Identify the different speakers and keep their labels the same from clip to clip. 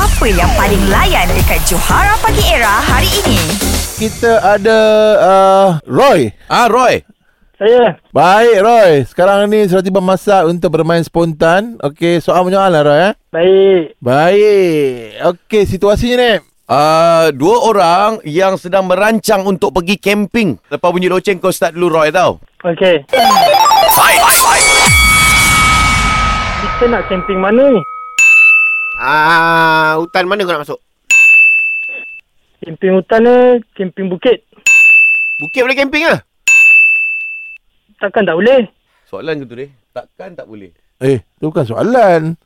Speaker 1: Apa yang paling layan dekat Johara Pagi Era hari ini?
Speaker 2: Kita ada uh, Roy.
Speaker 3: Ah Roy.
Speaker 4: Saya
Speaker 2: Baik Roy. Sekarang ni sudah tiba masa untuk bermain spontan. Okey, soal menyoal lah Roy eh.
Speaker 4: baik.
Speaker 2: Baik. Okey, situasinya ni.
Speaker 3: Uh, dua orang yang sedang merancang untuk pergi camping. Lepas bunyi loceng kau start dulu Roy tau.
Speaker 4: Okey. Kita nak camping mana ni?
Speaker 5: Ah, hutan mana kau nak masuk?
Speaker 4: Camping hutan ke camping bukit?
Speaker 5: Bukit boleh camping ah.
Speaker 4: Takkan tak boleh.
Speaker 3: Soalan gitu deh. Takkan tak boleh.
Speaker 2: Eh, tu bukan soalan.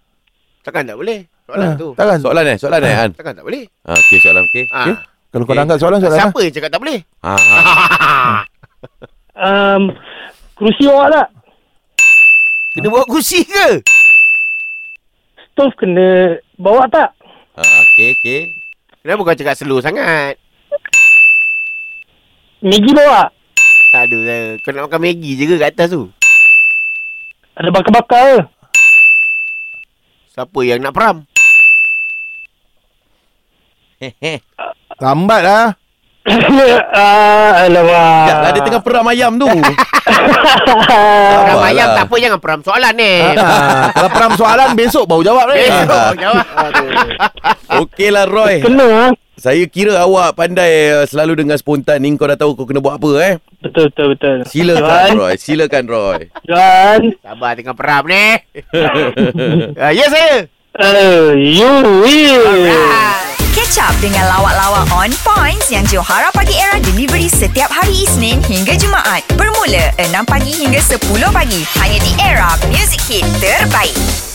Speaker 5: Takkan tak boleh.
Speaker 2: Ah,
Speaker 5: Soalan tu.
Speaker 2: Takkan. Soalan.
Speaker 3: Soalan eh, soalan eh Han.
Speaker 5: Takkan tak boleh.
Speaker 3: Ah, okey soalan okey.
Speaker 5: Ah.
Speaker 2: Okey. Kalau kau
Speaker 3: Okey.
Speaker 2: nak angkat soalan, soalan
Speaker 5: Siapa yang cakap tak boleh?
Speaker 3: Ah, ah.
Speaker 4: Um, kerusi awak tak?
Speaker 5: Kena bawa kursi ke?
Speaker 4: Stove kena bawa tak?
Speaker 3: ah okey okey.
Speaker 5: Kenapa kau cakap slow sangat?
Speaker 4: Maggi bawa?
Speaker 5: Tak ada lah. Kau nak makan Maggi je ke kat atas tu?
Speaker 4: Ada bakar-bakar ke?
Speaker 5: Siapa yang nak peram?
Speaker 2: lah. Lambat lah.
Speaker 4: ah, alamak.
Speaker 3: Sekejap lah, dia tengah peram ayam tu.
Speaker 5: Peram
Speaker 3: Apalah.
Speaker 5: ayam tak apa jangan peram soalan ni.
Speaker 2: lah. Ah, kalau peram soalan, besok baru jawab ni.
Speaker 5: Besok jawab.
Speaker 3: Ah, Okey lah Roy.
Speaker 4: Kena ah.
Speaker 3: Saya kira awak pandai uh, selalu dengan spontan ni. Kau dah tahu kau kena buat apa eh.
Speaker 4: Betul betul betul.
Speaker 3: Silakan
Speaker 4: Johan,
Speaker 3: Roy. Silakan Roy.
Speaker 4: Johan.
Speaker 5: Sabar tengah peram ni. ah, ya saya.
Speaker 4: Uh, you will.
Speaker 1: Ah, Catch up dengan lawak-lawak on points yang Johara Pagi Era delivery setiap hari Isnin hingga Jumaat. Bermula 6 pagi hingga 10 pagi. Hanya di Era Music Hit Terbaik.